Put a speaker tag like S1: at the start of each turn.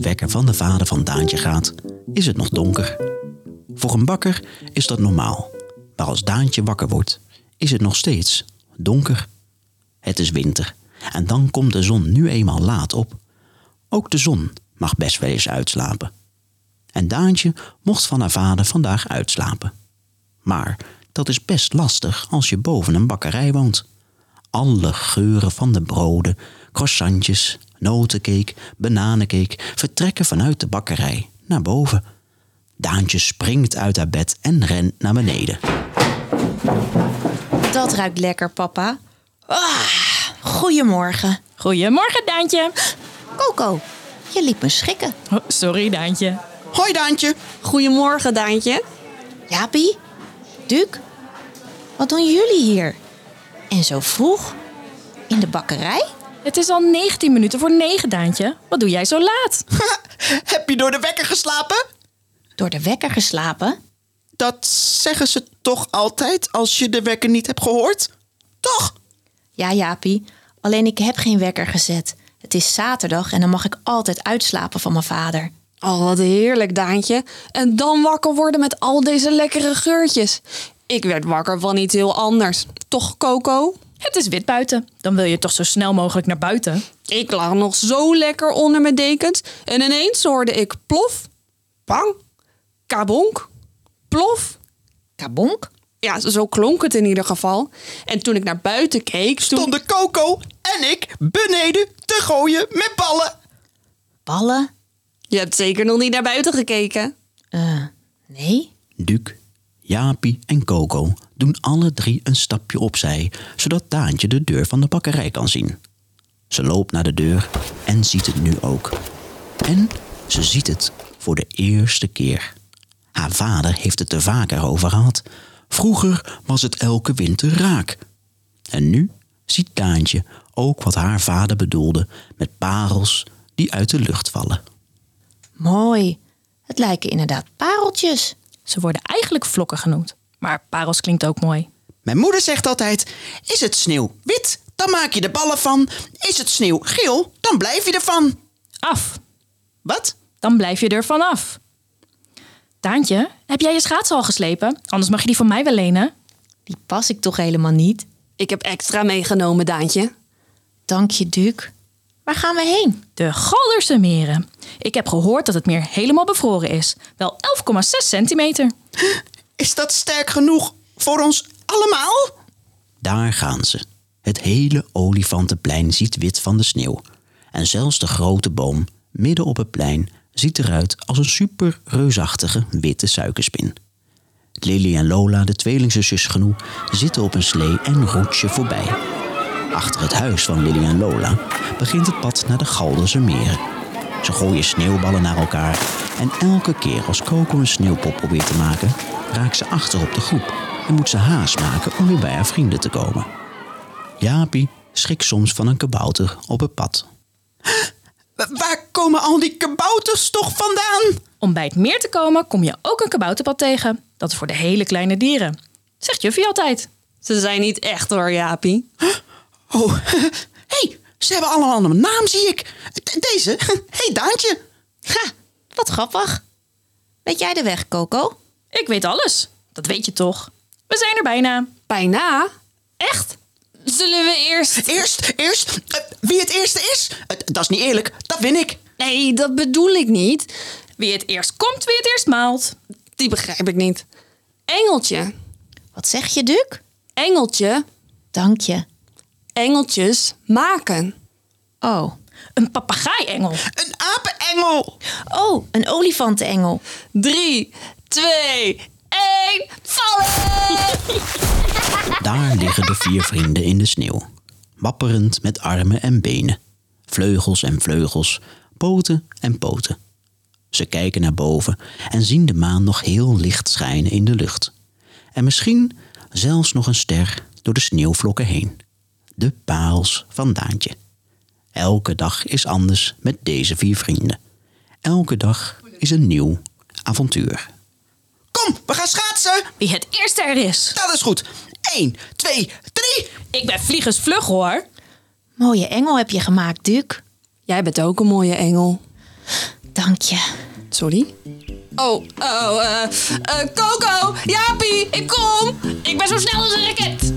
S1: wekker van de vader van Daantje gaat, is het nog donker. Voor een bakker is dat normaal. Maar als Daantje wakker wordt, is het nog steeds donker. Het is winter en dan komt de zon nu eenmaal laat op. Ook de zon mag best wel eens uitslapen. En Daantje mocht van haar vader vandaag uitslapen. Maar dat is best lastig als je boven een bakkerij woont. Alle geuren van de broden, croissantjes, notencake, bananencake vertrekken vanuit de bakkerij naar boven. Daantje springt uit haar bed en rent naar beneden.
S2: Dat ruikt lekker, papa. Ah, goedemorgen.
S3: Goedemorgen, Daantje.
S2: Coco, je liet me schrikken.
S3: Oh, sorry, Daantje.
S1: Hoi Daantje!
S4: Goedemorgen, Daantje.
S2: Jaapie, Duc, wat doen jullie hier? En zo vroeg? In de bakkerij?
S3: Het is al 19 minuten voor 9, Daantje. Wat doe jij zo laat?
S1: Heb je door de wekker geslapen?
S2: Door de wekker geslapen?
S1: Dat zeggen ze toch altijd als je de wekker niet hebt gehoord? Toch?
S2: Ja, Jaapie, alleen ik heb geen wekker gezet. Het is zaterdag en dan mag ik altijd uitslapen van mijn vader.
S4: Oh, wat heerlijk, Daantje. En dan wakker worden met al deze lekkere geurtjes. Ik werd wakker van iets heel anders. Toch, Coco?
S3: Het is wit buiten. Dan wil je toch zo snel mogelijk naar buiten.
S4: Ik lag nog zo lekker onder mijn dekens en ineens hoorde ik plof, pang, kabonk, plof.
S2: Kabonk?
S4: Ja, zo klonk het in ieder geval. En toen ik naar buiten keek, toen...
S5: stonden Coco en ik beneden te gooien met ballen.
S2: Ballen?
S4: Je hebt zeker nog niet naar buiten gekeken.
S2: Eh, nee.
S1: Duc, Jaapie en Coco doen alle drie een stapje opzij, zodat Daantje de deur van de bakkerij kan zien. Ze loopt naar de deur en ziet het nu ook. En ze ziet het voor de eerste keer. Haar vader heeft het er vaker over gehad. Vroeger was het elke winter raak. En nu ziet Daantje ook wat haar vader bedoelde met parels die uit de lucht vallen.
S2: Mooi. Het lijken inderdaad pareltjes.
S3: Ze worden eigenlijk vlokken genoemd. Maar parels klinkt ook mooi.
S5: Mijn moeder zegt altijd: Is het sneeuw wit, dan maak je de ballen van. Is het sneeuw geel, dan blijf je ervan.
S3: Af.
S5: Wat?
S3: Dan blijf je er vanaf. Daantje, heb jij je schaatsen al geslepen? Anders mag je die van mij wel lenen.
S2: Die pas ik toch helemaal niet?
S4: Ik heb extra meegenomen, Daantje.
S2: Dank je, Duc. Waar gaan we heen?
S3: De Galderse meren. Ik heb gehoord dat het meer helemaal bevroren is. Wel 11,6 centimeter.
S5: Is dat sterk genoeg voor ons allemaal?
S1: Daar gaan ze. Het hele olifantenplein ziet wit van de sneeuw. En zelfs de grote boom midden op het plein ziet eruit als een super reusachtige witte suikerspin. Lily en Lola, de tweelingzusjes Genoe, zitten op een slee en roetsen voorbij. Achter het huis van Lily en Lola begint het pad naar de Galderse meren. Ze gooien sneeuwballen naar elkaar en elke keer als Coco een sneeuwpop probeert te maken, raakt ze achter op de groep en moet ze haast maken om weer bij haar vrienden te komen. Jaapie schrikt soms van een kabouter op het pad.
S5: Wa- Waar komen al die kabouters toch vandaan?
S3: Om bij het meer te komen kom je ook een kabouterpad tegen. Dat is voor de hele kleine dieren. Zegt Juffie altijd.
S4: Ze zijn niet echt hoor, Jaapie.
S5: Oh, hé, hey, ze hebben allemaal een naam, zie ik. De- Deze, hé hey, Daantje.
S2: Ha, wat grappig. Weet jij de weg, Coco?
S3: Ik weet alles. Dat weet je toch? We zijn er bijna.
S4: Bijna?
S3: Echt?
S4: Zullen we eerst...
S5: Eerst, eerst, eh, wie het eerste is, Eh, dat is niet eerlijk, dat win ik.
S4: Nee, dat bedoel ik niet.
S3: Wie het eerst komt, wie het eerst maalt.
S4: Die begrijp ik niet. Engeltje.
S2: Wat zeg je, Duc?
S4: Engeltje.
S2: Dank je.
S4: Engeltjes maken.
S2: Oh.
S3: Een papegaaiengel.
S5: Een apenengel.
S2: Oh, een olifantenengel.
S4: Drie, twee, één. Vallen!
S1: Daar liggen de vier vrienden in de sneeuw. Wapperend met armen en benen. Vleugels en vleugels. Poten en poten. Ze kijken naar boven en zien de maan nog heel licht schijnen in de lucht. En misschien zelfs nog een ster door de sneeuwvlokken heen. De parels van Daantje. Elke dag is anders met deze vier vrienden. Elke dag is een nieuw avontuur.
S5: Kom, we gaan schaatsen.
S3: Wie het eerst er is.
S5: Nou, Dat is goed. 1, 2, 3.
S3: Ik ben vliegensvlug hoor.
S2: Mooie engel heb je gemaakt, Duc.
S4: Jij bent ook een mooie engel.
S2: Dank je.
S4: Sorry? Oh, oh, eh, eh, Coco, Jaapie, ik kom! Ik ben zo snel als een raket!